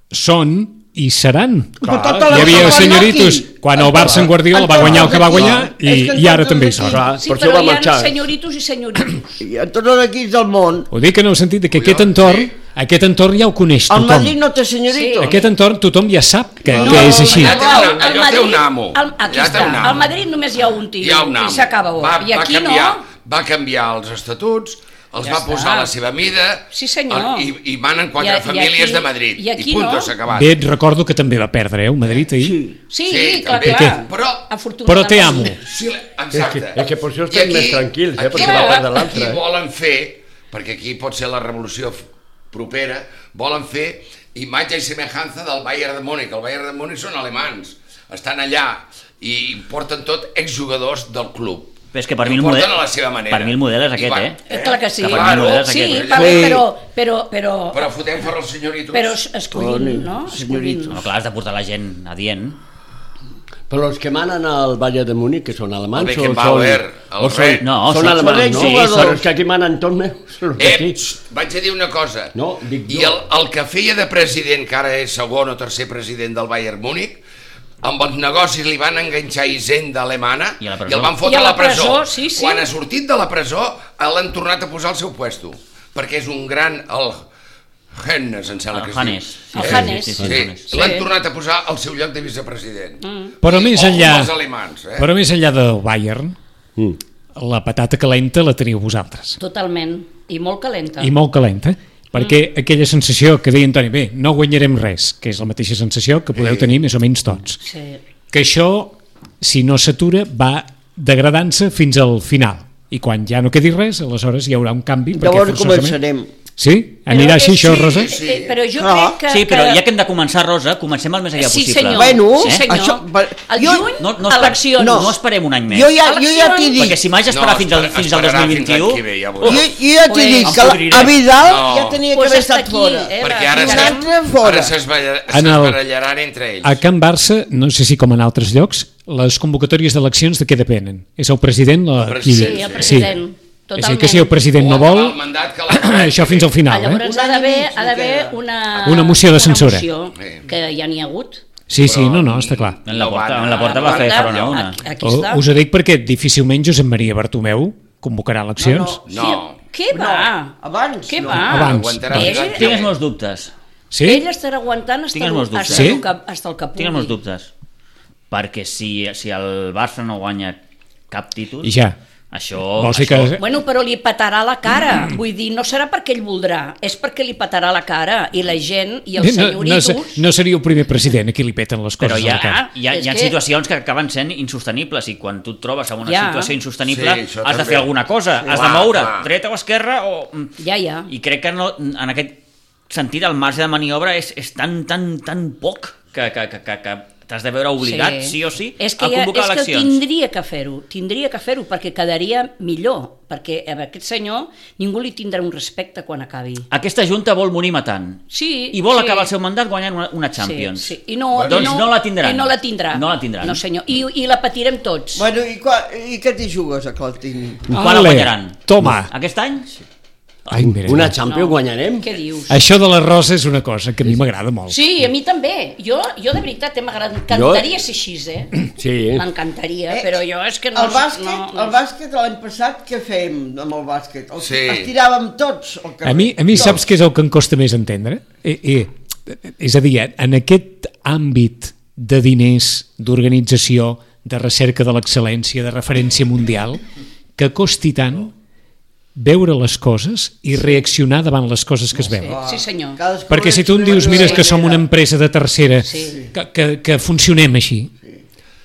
són i seran.
Però tota la
Hi havia
Barcelona
els senyoritos,
aquí.
quan el Barça en Guardiola va guanyar el que va guanyar i, i ara també hi són.
Clar,
sí,
per això
però
va
hi ha
marxar.
senyoritos i senyoritos.
I a tots els equips del món.
Ho dic en el sentit de que aquest entorn, aquest entorn ja ho coneix
El
tothom.
Madrid no té senyorito.
Aquest entorn tothom ja sap que,
No,
que és així.
allà té un-
El
allò té un amo.
El, aquí
Allà té
està,
un amo.
al Madrid només hi ha un tio
Hi ha un amo.
i s'acaba.
Va,
I aquí
va canviar,
no.
Va canviar els estatuts, els
Ja
ja
està.
va posar a la seva mida
Sí, senyor.
i, i manen quatre
I a- i
famílies
aquí-
de Madrid.
i aquí
I punto,
no.
s'ha acabat.
Bé, et recordo que també va perdre, eh, el Madrid ahir.
Sí,
Sí,
clar,
també.
clar.
Què? Però-
Afortunadament.
Però té amo.
Sí, exacte.
És que- és que per això estem
I
més tranquils, eh,
aquí-
perquè
va perdre
l'altre, eh.
Aquí volen fer, perquè aquí pot ser la revolució f- propera, volen fer imatge i semejanza del Bayern de Múnich. El Bayern de Múnich són alemans, estan allà i porten tot exjugadors del club.
Però és que per mi el
I ho porten
model-
a la seva manera.
per mi el model és
I
aquest,
van-
eh?
Eh, clar que sí.
Que per mi
Claro.
no és
sí,
aquest.
per mi, però, però, però,
Però fotem fora els senyoritos.
Mm. però es- escollint, no? Escollint.
No, clar, has de portar la gent adient.
Però els que manen al Valle de Múnich, que són alemans,
El
o
Beckenbauer,
són,
el
o són,
rei.
No,
són
són-
alemans,
són
no?
jugadors.
Però els que aquí manen tot meus són els
Ep,
d'aquí.
xxt, vaig a dir una cosa.
No, dic
I
jo.
el, el que feia de president, que ara és segon o tercer president del Bayern Múnich, amb els negocis li van enganxar Hisenda alemana
I a la presó.
el van fotre
I a la
presó.
presó, sí, sí.
Quan ha sortit de la presó, eh, l'han tornat a posar al seu puesto, perquè és un gran... El... Hennes, em sembla
El
que es
Hannes.
diu.
El Hannes.
Sí,
Sí, sí, el Hannes.
sí. l'han
Sí.
tornat a posar al seu lloc de vicepresident. Mm.
Però més enllà,
Els alemans, eh?
però més enllà del Bayern,
Mm.
la patata calenta la teniu vosaltres.
Totalment. I molt calenta.
I molt calenta. Perquè mm. aquella sensació que deia Antoni, bé, no guanyarem res, que és la mateixa sensació que
Eh.
podeu tenir més o menys tots.
Sí.
Que això, si no s'atura, va degradant-se fins al final. I quan ja no quedi res, aleshores hi haurà un canvi. perquè
Llavors
forçosament-
començarem.
Sí? Anirà així
és-
això, Rosa?
Sí, eh, però jo
Ah.
crec que...
Sí, però
que...
ja que hem de començar, Rosa, comencem el més allà
Sí,
possible.
senyor.
Bueno,
sí, senyor.
això- per-
El
jo-
juny,
No, no, esper-
eleccions.
no. esperem un any més.
Jo ja, jo ja t'hi
Eleccions.
dic,
Perquè si m'haig d'esperar
No,
fins, al,
espera-
fins al
esperarà fins
2021...
l'any que ve, ja veuràs.
jo, jo ja t'hi
Pues,
dic
em
que la-
podriré.
a Vidal
No.
ja tenia que
Pues
haver
hasta
estat
aquí,
fora.
eh,
Perquè ara
Un
s'es-
altre fora.
ara s'esballa-
En el-
s'esbarallaran entre ells.
A Can Barça, no sé si com en altres llocs, les convocatòries d'eleccions de què depenen? És el president? La...
El
qui-
president, Sí, el
president,
És a dir, que si
totalment.
el president no
O
vol,
el mandat que la-
això fins al
Ah,
final, eh?
llavors
Un
ha
any i
d'haver
mig
ha d'haver
queda.
una...
Una moció de censura.
Una
Sí.
moció, que ja n'hi ha hagut.
Sí, sí, no, no, està clar.
En la
No
porta,
van,
en la porta
no
va
van.
fer front a una.
Aquí, aquí
O,
està.
Oh, us ho dic perquè difícilment Josep Maria Bartomeu convocarà eleccions.
No.
Què
No,
va?
abans
Què
no.
va?
Abans.
Aguantarà
Eh?
fins l'any que
Tinc
ve.
els meus dubtes.
Sí?
Ell estarà aguantant
Tinc
hasta,
els meus
el,
dubtes.
hasta,
Sí?
el que, hasta el que pugui.
Tinc els meus dubtes. Perquè si, si el Barça no guanya cap títol...
I ja.
Això...
Vols dir
això-
que-
Bueno, però li petarà la cara.
Mm.
Vull dir, no serà perquè ell voldrà, és perquè li petarà la cara. I la gent, i els
No, no,
senyoritos...
se- no seria el primer president a qui li peten les
Però
coses
hi ha,
a la cara.
hi ha,
És
hi ha
que-
situacions que acaben sent insostenibles i quan tu et trobes en una
Ja.
situació insostenible
Sí,
sí,
això
has de
també.
fer alguna cosa,
Sí,
has
clar,
de moure,
clar.
dreta o esquerra o... mm,
Ja, ja.
I crec que no, en aquest sentit el marge de maniobra és, és tan, tan, tan poc que, que, que, que, que t'has de veure obligat, sí, o sí,
és que
a convocar
ja, és
eleccions.
que tindria que fer-ho, tindria que fer-ho perquè quedaria millor, perquè a aquest senyor ningú li tindrà un respecte quan acabi.
Aquesta Junta vol morir matant.
Sí,
I vol
sí.
acabar el seu mandat guanyant una, una Champions.
Sí, sí. I no,
Doncs
i no,
no la tindran.
I no la tindrà.
No la tindran.
No, senyor. I, i la patirem tots.
Bueno, i, qua, i què t'hi jugues, a Clatín?
Quan la
Ale,
guanyaran?
Toma.
Aquest any?
Ai, mira,
Una
mira.
Champions guanyarem?
Què dius?
Això de la Rosa és una cosa que a mi m'agrada molt.
Sí, a mi també. Jo, jo de veritat, eh, m'encantaria ser així, eh?
Sí.
M'encantaria, Eh, però jo és que no...
Eh, El bàsquet,
no, no.
el bàsquet l'any passat, què fèiem amb el bàsquet? El,
Sí.
Els tiràvem tots al carrer.
A mi, a mi
Tots.
saps què és el que em costa més entendre? Eh, eh, és a dir, en aquest àmbit de diners, d'organització, de recerca de l'excel·lència, de referència mundial, que costi tant veure les coses i reaccionar davant les coses que es veuen.
Sí, senyor.
Cadascú
Perquè si tu em dius, mira, és que som una empresa de tercera,
Sí.
que, que, que funcionem així,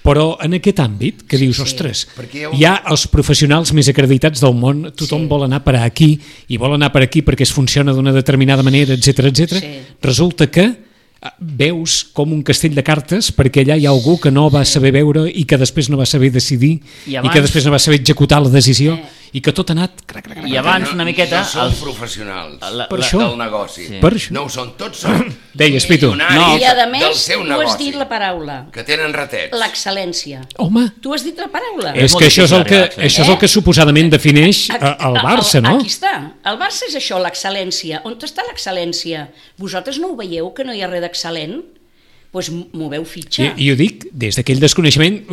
però en aquest àmbit, que dius, ostres,
Perquè hi ha un-
hi ha els professionals més acreditats del món, tothom vol anar per aquí, i vol anar per aquí perquè es funciona d'una determinada manera, etc etc.
Sí.
resulta que eh, veus com un castell de cartes perquè allà hi ha algú que no va saber veure i que després no va saber decidir
I
i,
abans-
que després no va saber executar la decisió i que tot ha anat... Crac, crac, crac.
I abans una miqueta...
No són
el-
professionals
la-
Per
la-
això.
del negoci.
Sí.
Per això.
No ho són, tots són
Deies, Pitu.
No.
milionaris
I a més,
del seu
tu has
negoci,
dit la paraula,
que tenen ratets.
l'excel·lència.
Home,
Tu has dit la paraula.
És
molt
que això és el
difícil
que,
arribar, sí.
això és el que suposadament defineix eh, el Barça, no?
Aquí està. El Barça és això, l'excel·lència. On està l'excel·lència? Vosaltres no ho veieu, que no hi ha res d'excel·lent? Doncs pues moveu
I,
fitxa.
I ho dic des d'aquell desconeixement,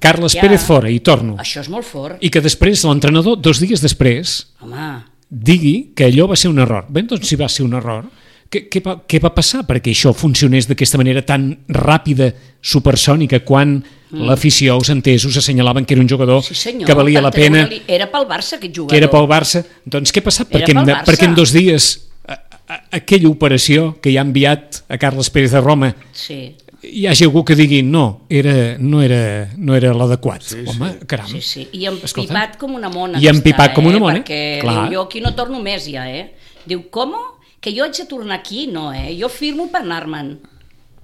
Carles
Ja.
Pérez fora, i torno.
Això és molt fort.
I que després l'entrenador, dos dies després,
Home,
digui que allò va ser un error. Bé, doncs si va ser un error, què, què, va, què va passar perquè això funcionés d'aquesta manera tan ràpida, supersònica, quan mm. l'afició, els entesos, assenyalaven que era un jugador
sí senyor.
que valia la
per
pena,
treure-li- Era pel Barça aquest jugador.
que era pel Barça. Doncs què ha passat?
Era
Perquè en,
pel Barça.
perquè en dos dies a, a, aquella operació que ja ha enviat a Carles Pérez de Roma
Sí.
hi hagi algú que digui no, era, no era, no era l'adequat. Sí, Home, sí. caram.
Sí, sí, i empipat
Escolta'm.
com una mona.
I
que
empipat
està,
com una mona,
Eh? Perquè
clar.
diu, jo aquí no torno més ja, eh? Diu, com? Que jo haig de tornar aquí? No, eh? Jo firmo per anar-me'n.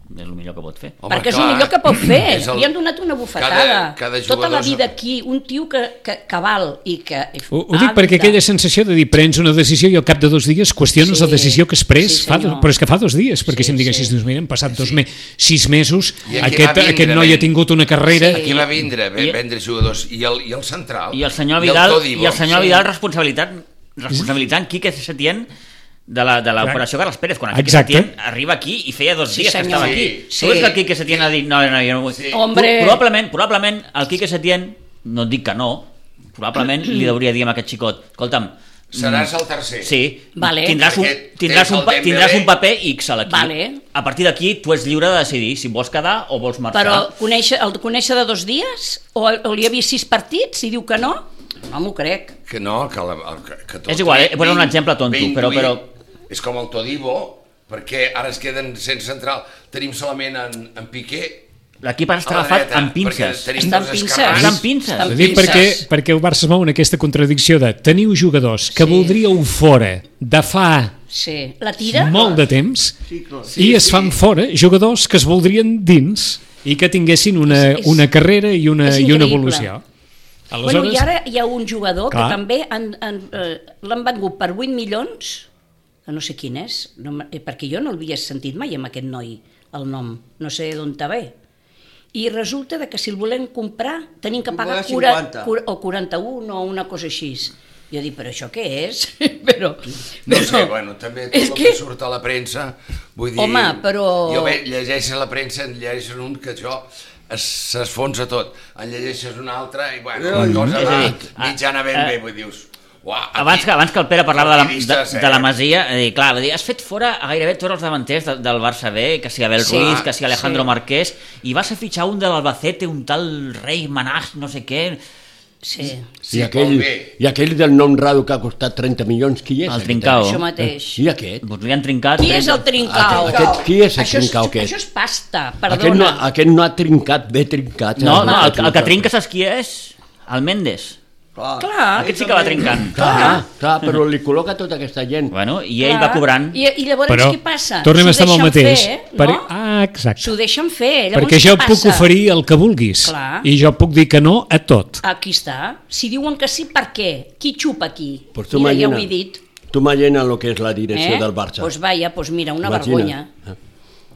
és el millor que pot fer.
Home,
Perquè és
clar,
el millor que pot fer.
és el-
Li han donat una bufetada.
Cada- cada
tota la
jugador-
vida aquí, un tio que, que, que val i que...
Ho, ho
Ah,
dic perquè aquella sensació de dir prens una decisió i al cap de dos dies qüestiones sí,
Sí.
la decisió que has pres,
Sí,
fa dos,
senyor.
però és que fa dos dies, perquè sí,
Sí,
si em diguessis,
sí.
dius, mira, han passat dos me, sis mesos,
I aquí va
aquest,
vindre, eh?
aquest noi
ven.
ha tingut una carrera...
Sí.
Sí.
Aquí va vindre, ve,
I-
vendre jugadors. I el, I el central.
I el senyor Vidal, i
Todibo.
el senyor Vidal responsabilitat, responsabilitzant Quique Setién de la- de l'operació Carles Pérez, quan el Quique
Exacte.
Setién arriba aquí i feia dos
Sí,
dies que
senyor.
estava aquí.
Sí,
Tu
sí.
és que el Quique Setién ha dit, no, no, jo no vull.
Sí.
Hombre.
Pro- Probablement, probablement el Quique Setién, no et dic que no, probablement li hauria de dir a aquest xicot, escolta'm, mm,
Seràs el tercer.
Sí,
Vale.
tindràs, un,
Perquè
tindràs,
tens
un,
el
pa-
Dembélé.
tindràs un paper X a l'equip.
Vale.
A partir d'aquí tu ets lliure de decidir si vols quedar o vols marxar.
Ah.
Però conèixer, el conèixer de dos dies? O, o li ha vist sis partits i diu que no? No m'ho crec.
Que no, que, la, el- que, que tot...
És igual, eh? He posat un
Ve-
exemple tonto,
ve intuir.
però- però-
És com el Todibo, perquè ara es queden sense central. Tenim solament en, en Piqué
L'equip ara
a
està
la
agafat
dreta,
amb pinces.
perquè tenim
Està
dos
amb pinces.
esquerrans.
Està amb pinces.
Està amb
Ho dic
pinces.
perquè, perquè el Barça es mou en aquesta contradicció de teniu jugadors que
Sí.
sí. voldríeu fora de fa
Sí. La tira?
molt de temps
Sí, clar.
sí, i es fan fora jugadors que es voldrien dins i que tinguessin una,
És- és-
una carrera i una,
és
i una
increïble.
evolució.
Bueno, I ara hi ha un jugador
Clar.
que també han- han, eh, l'han vengut per 8 milions, que no sé quin és, no, me- eh, perquè jo no l'havia sentit mai amb aquest noi, el nom, no sé d'on te ve. I resulta de que si el volem comprar tenim que
Ho
pagar
paga
40,
50.
o 41 o una cosa així. Jo dic, però això què és? però,
No
però-
sé, bueno, també tot
és
el que...
que-
surt a la premsa, vull dir...
Home, però-
Jo bé, llegeixes la premsa, en llegeixes un que això es- s'esfonsa tot, en llegeixes un altre i, bueno, la
És
cosa
a
va
dir, ah,
mitjana ben
eh,
bé, vull dir, dius... Uah, aquí,
Abans que, abans que el Pere parlava de la, de,
Periodistes, eh?
de la Masia, eh, clar, va dir, has fet fora a gairebé tots els davanters de, del Barça B, que si Abel sí,
Sí,
Ruiz, que si Alejandro
sí.
sí. Marqués, i vas a fitxar un de l'Albacete, un tal rei Manàs, no sé què,
Sí,
Sí,
I aquell,
molt bé.
I aquell del nom raro que ha costat 30 milions, qui és?
el
aquest?
Trincao.
això mateix.
I aquest?
Doncs li han trincat...
Qui és el trincau?
Aquest- aquest- qui és el
Això
trincau aquest?
Això és pasta, perdona.
Aquest no, aquest no ha trincat, ve trincat.
No, no, el,
trincat.
el que trinca saps qui és? El Méndez.
Clar,
Clar,
Aquest sí que va trincant.
Clar, Ah, clar, però li col·loca tota aquesta gent.
Bueno, i ell va cobrant...
I, i llavors
Però
què passa?
tornem a
S'ho
estar amb el
deixen
mateix.
Fer, no?
per... Ah, exacte.
S'ho deixen fer. Llavors,
Perquè jo
què
puc
passa?
oferir el que vulguis
Clar.
i jo puc dir que no a tot.
Aquí està. Si diuen que sí, per què? Qui xupa aquí?
Pues tu
mira, ja ho
imagina.
he dit. Eh?
Tu imagina el que és la direcció del Barça.
Pues vaja, pues mira, una
Imagina.
vergonya.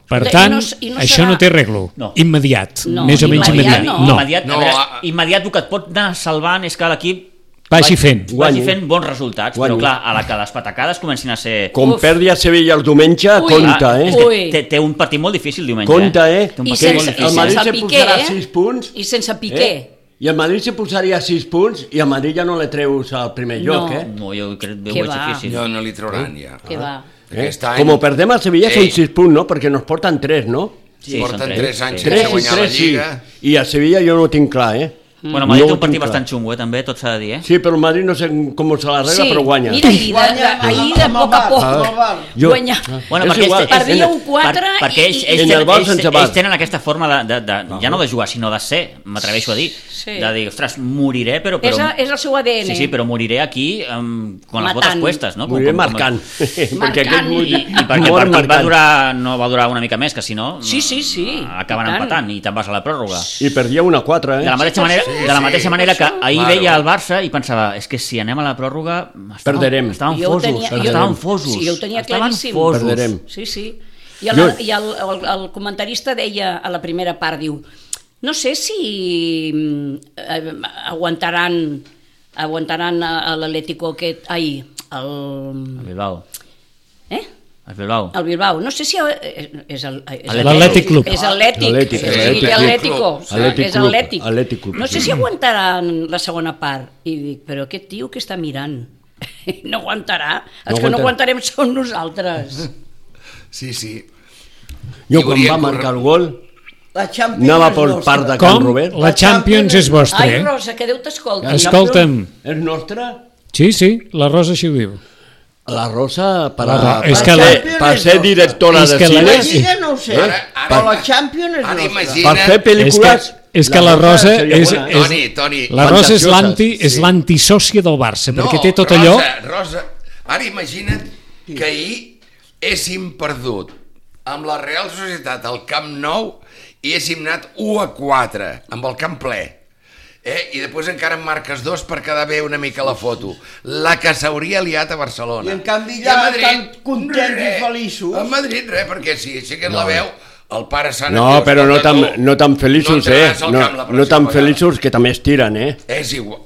Per
I no-
tant,
i no serà-
això no té arreglo.
No.
Immediat,
No,
més o menys
immediat
immediat.
no.
No.
Immediat,
No,
no, veure,
a-
immediat el que et pot anar salvant és que l'equip
Vagi
vagi-
fent.
Guanyi.
vagi fent bons resultats,
Guanyi.
però clar, a la que les patacades comencin a ser...
Com
Uf.
perdi a Sevilla el diumenge,
Ui.
compte,
Ah,
eh?
És que
Ui.
Té, té un partit molt difícil diumenge.
Compte, eh?
Té un
I
partit
sense-
molt
i
el
difícil.
Madrid
sense
se
Piqué,
posarà
eh?
6 punts.
I
eh?
sense Piqué.
Eh? I el Madrid se posaria 6 punts i a Madrid ja no le treus al primer lloc,
No.
eh?
No, jo crec que ho
Què
veig
va?
difícil.
No, no li trauran, ja.
Què va?
Eh?
Aquest any...
Como perdem a Sevilla
Sí.
són 6 punts, no? Perquè nos porten 3, no?
Sí, són
Porten
tres,
3 anys
sí.
sense
Tres
3 i
guanyar la
3, sí.
Lliga.
I a Sevilla jo no ho tinc clar, eh?
Mm. Bueno, Madrid
No
té
ho
un partit
tinc
bastant xungo, eh, també, tot s'ha de dir, eh?
Sí, però el Madrid no sé com se l'arregla, però guanya.
mira, ahir de, de,
Guanya amb-
ahir de
amb el
poc a
Barça,
poc
amb el Barça.
Jo-
guanyar.
Bueno,
És
perquè
igual.
ells, ells,
Perdia un
per-
quatre
perquè
i-
ells,
i-
ells,
En el
tenen,
vol
ells,
sense
ells,
val.
tenen aquesta forma de, de, de, ja no de jugar, sinó de ser, m'atreveixo a dir,
Sí.
de dir, ostres, moriré, però...
És,
però
a, és el seu ADN.
Sí, sí, però moriré aquí um, quan les botes
Matant.
puestes, no? Com-
Moriré
com- com-
marcant. perquè aquest
Marcant i-
I perquè el partit
mor
va
marcant.
durar, no va durar una mica més, que si no...
Sí, sí, sí,
ah, Acaben
i tant.
empatant i te'n vas a la pròrroga.
I perdia una 4, eh?
De la mateixa manera,
sí,
de la
sí,
mateixa
per
manera que
això.
ahir
Claro.
veia el Barça i pensava, és que si anem a la pròrroga... estàvem-
Perderem.
Estàvem
Jo ho
fosos,
tenia-
jo-
estàvem fosos.
Sí, jo ho tenia
estaven
claríssim.
Fosos.
Perderem.
Sí, sí. I, el,
Mm. Jo-
i el, el, el comentarista deia a la primera part, diu, no sé si mm, eh, aguantaran aguantaran a- a l'Atlético aquest, ai, el,
El Bilbao.
eh?
El Bilbao.
el Bilbao, no sé si eh, és el, eh, és el
L'Atlètic Club.
És atlètic, o
Atlètic,
sigui,
Atlètic Club.
Atlético,
Atlètic
és
Club,
atlètic.
Atlètic Club.
No sé si aguantaran la segona part i dic, però aquest tio que està mirant no aguantarà, els
No
que no
aguantarà.
aguantarem són nosaltres.
Sí, sí.
Jo
I
quan
volia
va
córrer-
marcar el gol,
la Champions
anava
és
pel
nostra.
part de Can
Com?
Robert.
La Champions és vostra,
Ai,
eh?
Rosa, que Déu t'escolti.
Es-
Escolta'm,
És nostra?
sí, sí, la Rosa així ho diu.
La Rosa per, a,
La Ro- és
per,
que la-
ser, per ser directora
És
de
que la-
cine,
La Lliga no ho sé,
Eh?
però la Champions és
Ara
nostra.
imagina-
per fer pel·lícules...
És que- és que la Rosa
seria
és-
bona, eh?
és-
Toni, Toni...
La Rosa és
Fantasioses,
l'anti és
sí.
l'antisòcia del Barça, perquè té tot allò...
Rosa, Rosa, ara imagina't que ahir haguéssim perdut a amb la Real Societat al Camp Nou i és himnat 1 a 4, amb el camp ple. Eh? I després encara en marques dos per quedar bé una mica la foto. La que s'hauria liat a Barcelona.
I en canvi
I
ja
a
tan contents i
res.
feliços.
A Madrid res, perquè si sí que no. la
No. eh.
veu, el pare Sant
No,
Andreu,
però no
escolta,
tan,
tu,
no tan feliços,
no
eh?
entraràs al
No,
camp la
no tan
pròxima vegada.
feliços que també estiren, eh?
És igual.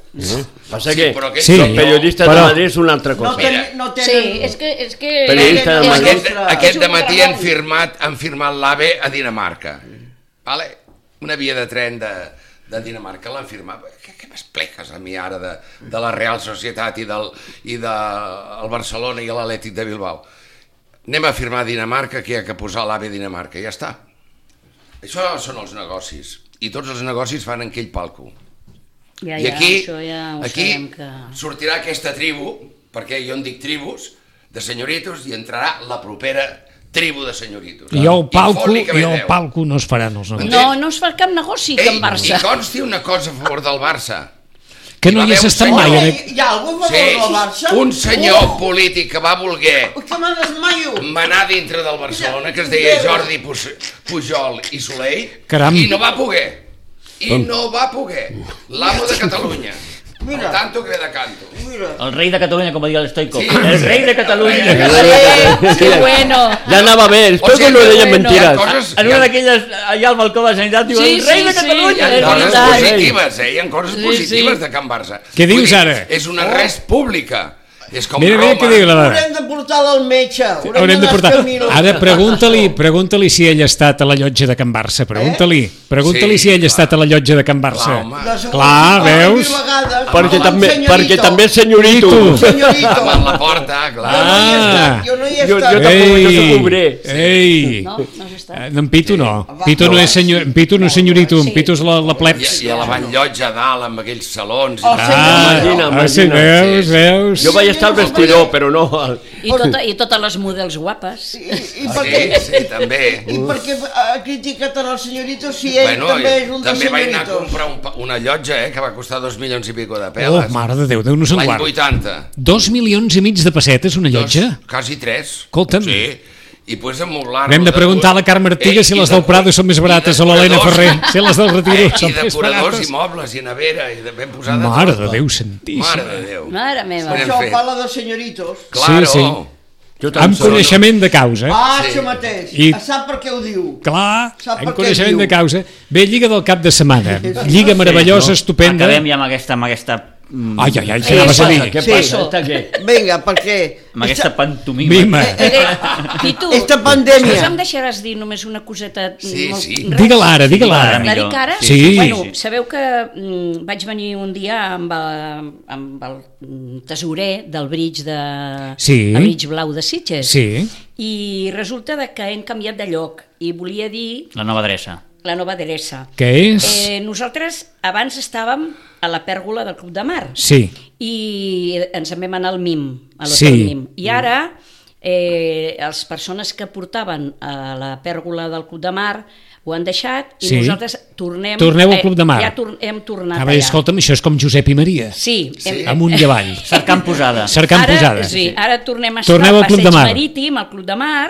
Passa
sí,
que
però aquests
Sí.
els
no-
periodistes
Però-
de Madrid és una altra
No,
cosa.
ten,
Mira.
no
Sí,
tenen...
és que... És que
Periodista de
és-
Madrid.
Aquest,
nostre-
aquest
és un
dematí han
treball.
firmat, han firmat l'AVE a Dinamarca. Vale? Una via de tren de, de Dinamarca l'han firmat. Què, què m'expliques a mi ara de, de la Real Societat i del i de, el Barcelona i l'Atlètic de Bilbao? Anem a firmar a Dinamarca que hi ha que posar l'AVE a Dinamarca. Ja està. Això són els negocis. I tots els negocis fan en aquell palco.
Ja,
I aquí,
ja, això ja ho
aquí
sabem que...
sortirà aquesta tribu, perquè jo en dic tribus, de senyoritos, i entrarà la propera tribu de senyoritos.
I el palco,
fot-li que
i el
veieu.
palco no es faran els negocis.
No, no es fa cap negoci que en Barça.
i consti una cosa a favor del Barça.
Que
hi
no
va
hi has
haver un
estat
senyor-
mai. En...
Hi, hi ha algú a favor
Sí,
del Barça? Oh.
un senyor polític que va voler
Ui, que me desmaio!
manar dintre del Barcelona, que es deia Jordi Pus- Pujol i Soleil,
Caram.
i no va poder. I no va poder. L'amo de Catalunya.
Mira.
Mira. Tanto que ve de canto.
Mira,
El rei de Catalunya, com va dir el Stoico.
Sí.
El rei de
El rei
Catalunya.
de
Eh, que bueno.
Ja anava bé, espero que no
que
deien
bueno,
mentires.
coses-
En una d'aquelles, allà al balcó de la Generalitat, diu,
Sí,
el rei
sí,
de
sí,
Hi
Catalunya.
ha
és
coses
veritat.
positives, eh? Hi ha coses positives de Can Barça.
Què
Vull
dius
dir,
ara?
És una res pública. És com
Mira,
Roma.
mira què diu la dada.
haurem de portar-la al metge. Haurem,
Haurem de
d'anar
portar.
camino.
Ara pregunta-li pregunta si ell ha estat a la llotja de Can Barça. Pregunta-li pregunta
Sí,
si ell ha
clar.
estat a la llotja de Can Barça.
Clar, home.
De segur-
Clar,
de mil
veus?
vegades,
Perquè
com en
també,
senyorito.
perquè també és senyorito.
Senyorito.
Senyorito.
Davant la porta, clar.
Ah.
Jo no hi he
Jo-
estat.
jo
Jo,
tampoc, jo
Ei,
soc obrer.
Ei!
No, no has estat.
Eh, En Pitu no.
Va,
Pitu no
no,
és senyor, en Pitu no és senyorito, en Pitu és la, la
I,
plebs.
I a la Vall Llotja a dalt, amb aquells salons. i
Oh,
tal.
senyor.
Ah,
Imagina,
ah, sí,
imagina.
veus, veus.
Jo vaig estar al vestidor, però no... al-
I, tota, I totes les models guapes.
I, i, per
Sí,
què,
sí, també.
I per què ha criticat en el senyorito si ell
Bueno,
també és un dels
també vaig anar a
senyoritos?
comprar un, pa- una llotja, eh, que va costar dos milions i pico de
Oh,
peles.
mare de Déu, Déu nos en
L'any
guard.
80.
Dos milions i mig de pessetes, una llotja?
Dos, quasi tres.
Escolta'm.
Sí. I pues amoblar
Anem de preguntar a la Carme Artiga si les del Prado són més barates o l'Helena Ferrer, si les del Retiro són
Eh, I
més
decoradors
barates.
i mobles i nevera i de ben posades.
Mare de Déu
Mare
santíssima.
de Déu.
Mare meva.
Espera.
Això
fet.
parla de senyoritos.
Sí,
Claro. Sí,
sí.
sí.
Jo tan
Amb
sol-
coneixement de causa.
Ah,
Sí.
això mateix.
I-
I... Sap per què ho diu.
Clar,
Sap per
en
què
coneixement
diu.
de causa. Bé, Lliga del cap de setmana. Lliga meravellosa, estupenda.
Acabem ja amb aquesta... Amb aquesta mm,
Ai, ai, ai, què anaves a dir?
Què
Sí.
passa? Està què?
Vinga, perquè...
amb aquesta pantomima.
Mima.
Eh, I tu,
Esta pandèmia.
Doncs em deixaràs dir només una coseta
Sí,
molt...
sí.
eh,
res?
Digue-la ara, digue-la
Digue-la
ara.
La
Millor.
dic ara?
Sí. Sí.
Bueno,
Sí.
sabeu que mm, vaig venir un dia amb, el, amb el mm, tesorer del bridge de...
Sí.
El bridge blau de Sitges.
Sí.
I resulta de que hem canviat de lloc i volia dir
La nova adreça.
la nova adreça.
Que és...
Eh, nosaltres abans estàvem a la pèrgola del Club de Mar
Sí.
i ens en vam anar al MIM, a l'hotel
Sí.
MIM. I ara eh, les persones que portaven a la pèrgola del Club de Mar ho han deixat i
Sí.
nosaltres tornem...
Torneu al
eh,
Club de Mar.
Ja tor hem tornat
Ah, bé,
allà.
escolta'm, això és com Josep i Maria.
Sí, hem,
Amunt i avall.
Cercant posada.
Cercant
ara,
posades.
Sí, ara tornem a estar
Torneu al Club de
Passeig
Mar.
Marítim, al Club de Mar,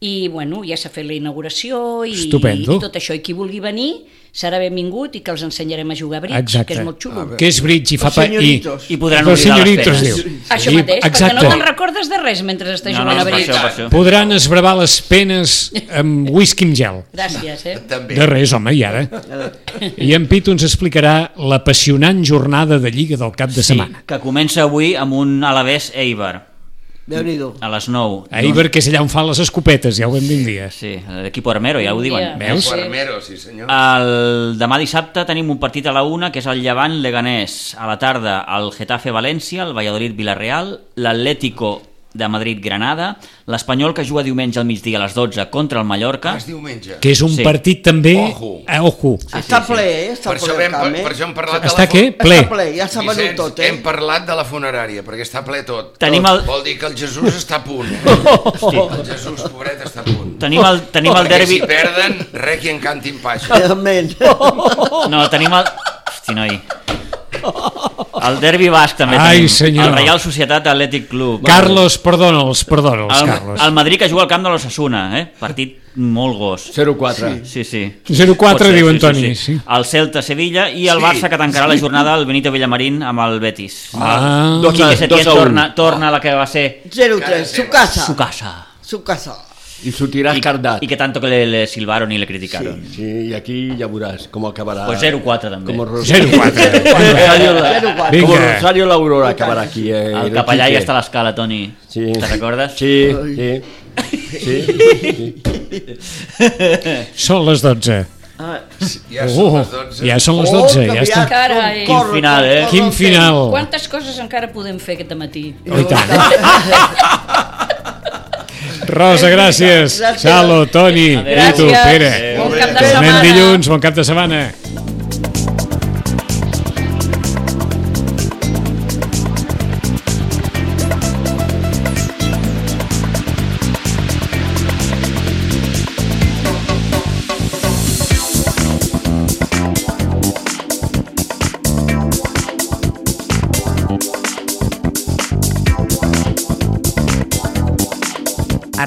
i bueno, ja s'ha fet la inauguració i,
Estupendo.
i tot això. I qui vulgui venir serà benvingut i que els ensenyarem a jugar a brics,
Exacte.
que és molt xulo.
Que és bridge i fa...
Els
pa-
senyoritos.
I podran
Los
oblidar les
senyoritos,
penes.
diu.
Això
I-
mateix,
exacte.
perquè no te'n recordes de res mentre estàs
No, no,
jugant
no,
a
per
brics.
això, per això.
Podran esbravar les penes amb whisky amb gel.
Gràcies, eh?
També.
De res, home, i ara? I en Pitu ens explicarà l'apassionant jornada de Lliga del cap de setmana.
Que comença avui amb un Alavés Eibar,
Déu-n'hi-do.
a les 9.
A Iber, que és allà on fan les escopetes, ja ho vam dir un dia.
Sí, l'equip Armero, ja ho diuen.
Ja.
Veus?
Guarmero, sí
Ah.
senyor.
El demà dissabte tenim un partit a la una, que és el Llevant Leganés. A la tarda, el Getafe València, el Valladolid Villarreal, l'Atlético de Madrid Granada, l'Espanyol que juga diumenge al migdia a les 12 contra el Mallorca.
És diumenge.
Que és un
Sí.
partit també...
Ojo.
Eh, ojo.
Està ple, eh? Està
Per
ple
això, vam,
el camp, eh?
per això hem parlat de
Està
la fo-
què?
Està
Ple.
ple, ja s'ha venut
Vicenç,
tot, eh?
hem parlat de la funerària, perquè està ple tot.
Tenim
Tot.
el-
Vol dir que el Jesús està a punt. Eh?
Oh.
El Jesús, pobret, està a punt.
Tenim el, tenim el
Perquè
derbi...
si perden, res qui en
Oh.
cantin paixos.
Realment.
No, tenim el... Hosti, noi. El derbi basc també
Ai,
tenim.
senyor.
El Reial Societat Atlètic Club.
Carlos, perdona'ls, perdona'ls,
el,
Carlos.
el Madrid que juga al camp de l'Ossassuna, eh? Partit molt gos.
0-4.
Sí, sí.
0-4
Pot ser,
diu
sí,
Antoni,
Sí,
sí.
sí. El Celta Sevilla i el
Sí,
Barça que tancarà la jornada el Benito Villamarín amb el Betis.
Ah,
Dos
Quique
a,
Setién
dos a un.
torna, torna a la que va ser
0-3, su casa.
su casa.
Su casa.
I sortirà
I,
escardat.
I que tanto que le, le silbaron i le criticaron.
Sí, i aquí ja veuràs com acabarà.
Pues 0-4 també.
Com el Rosario,
0-4.
com el Rosario, la,
Vinga.
com el Rosario l'Aurora acabarà aquí. Eh,
El capellà
Quique.
ja està a l'escala, Toni.
Sí.
Te'n recordes?
Sí, sí. sí, sí.
Són les 12.
Ja són les
Oh,
12.
ja són
Pues
les 12, ja està.
Carai.
Quin final, eh?
Quin final. Oh,
Quantes coses encara podem fer aquest matí?
I tant. Rosa, gràcies.
Gràcies.
Salo, Toni, i
Adéu.
tu,
Gràcies.
Pere.
Bon cap de
Tornem
setmana.
Doncs dilluns, bon cap de setmana.
A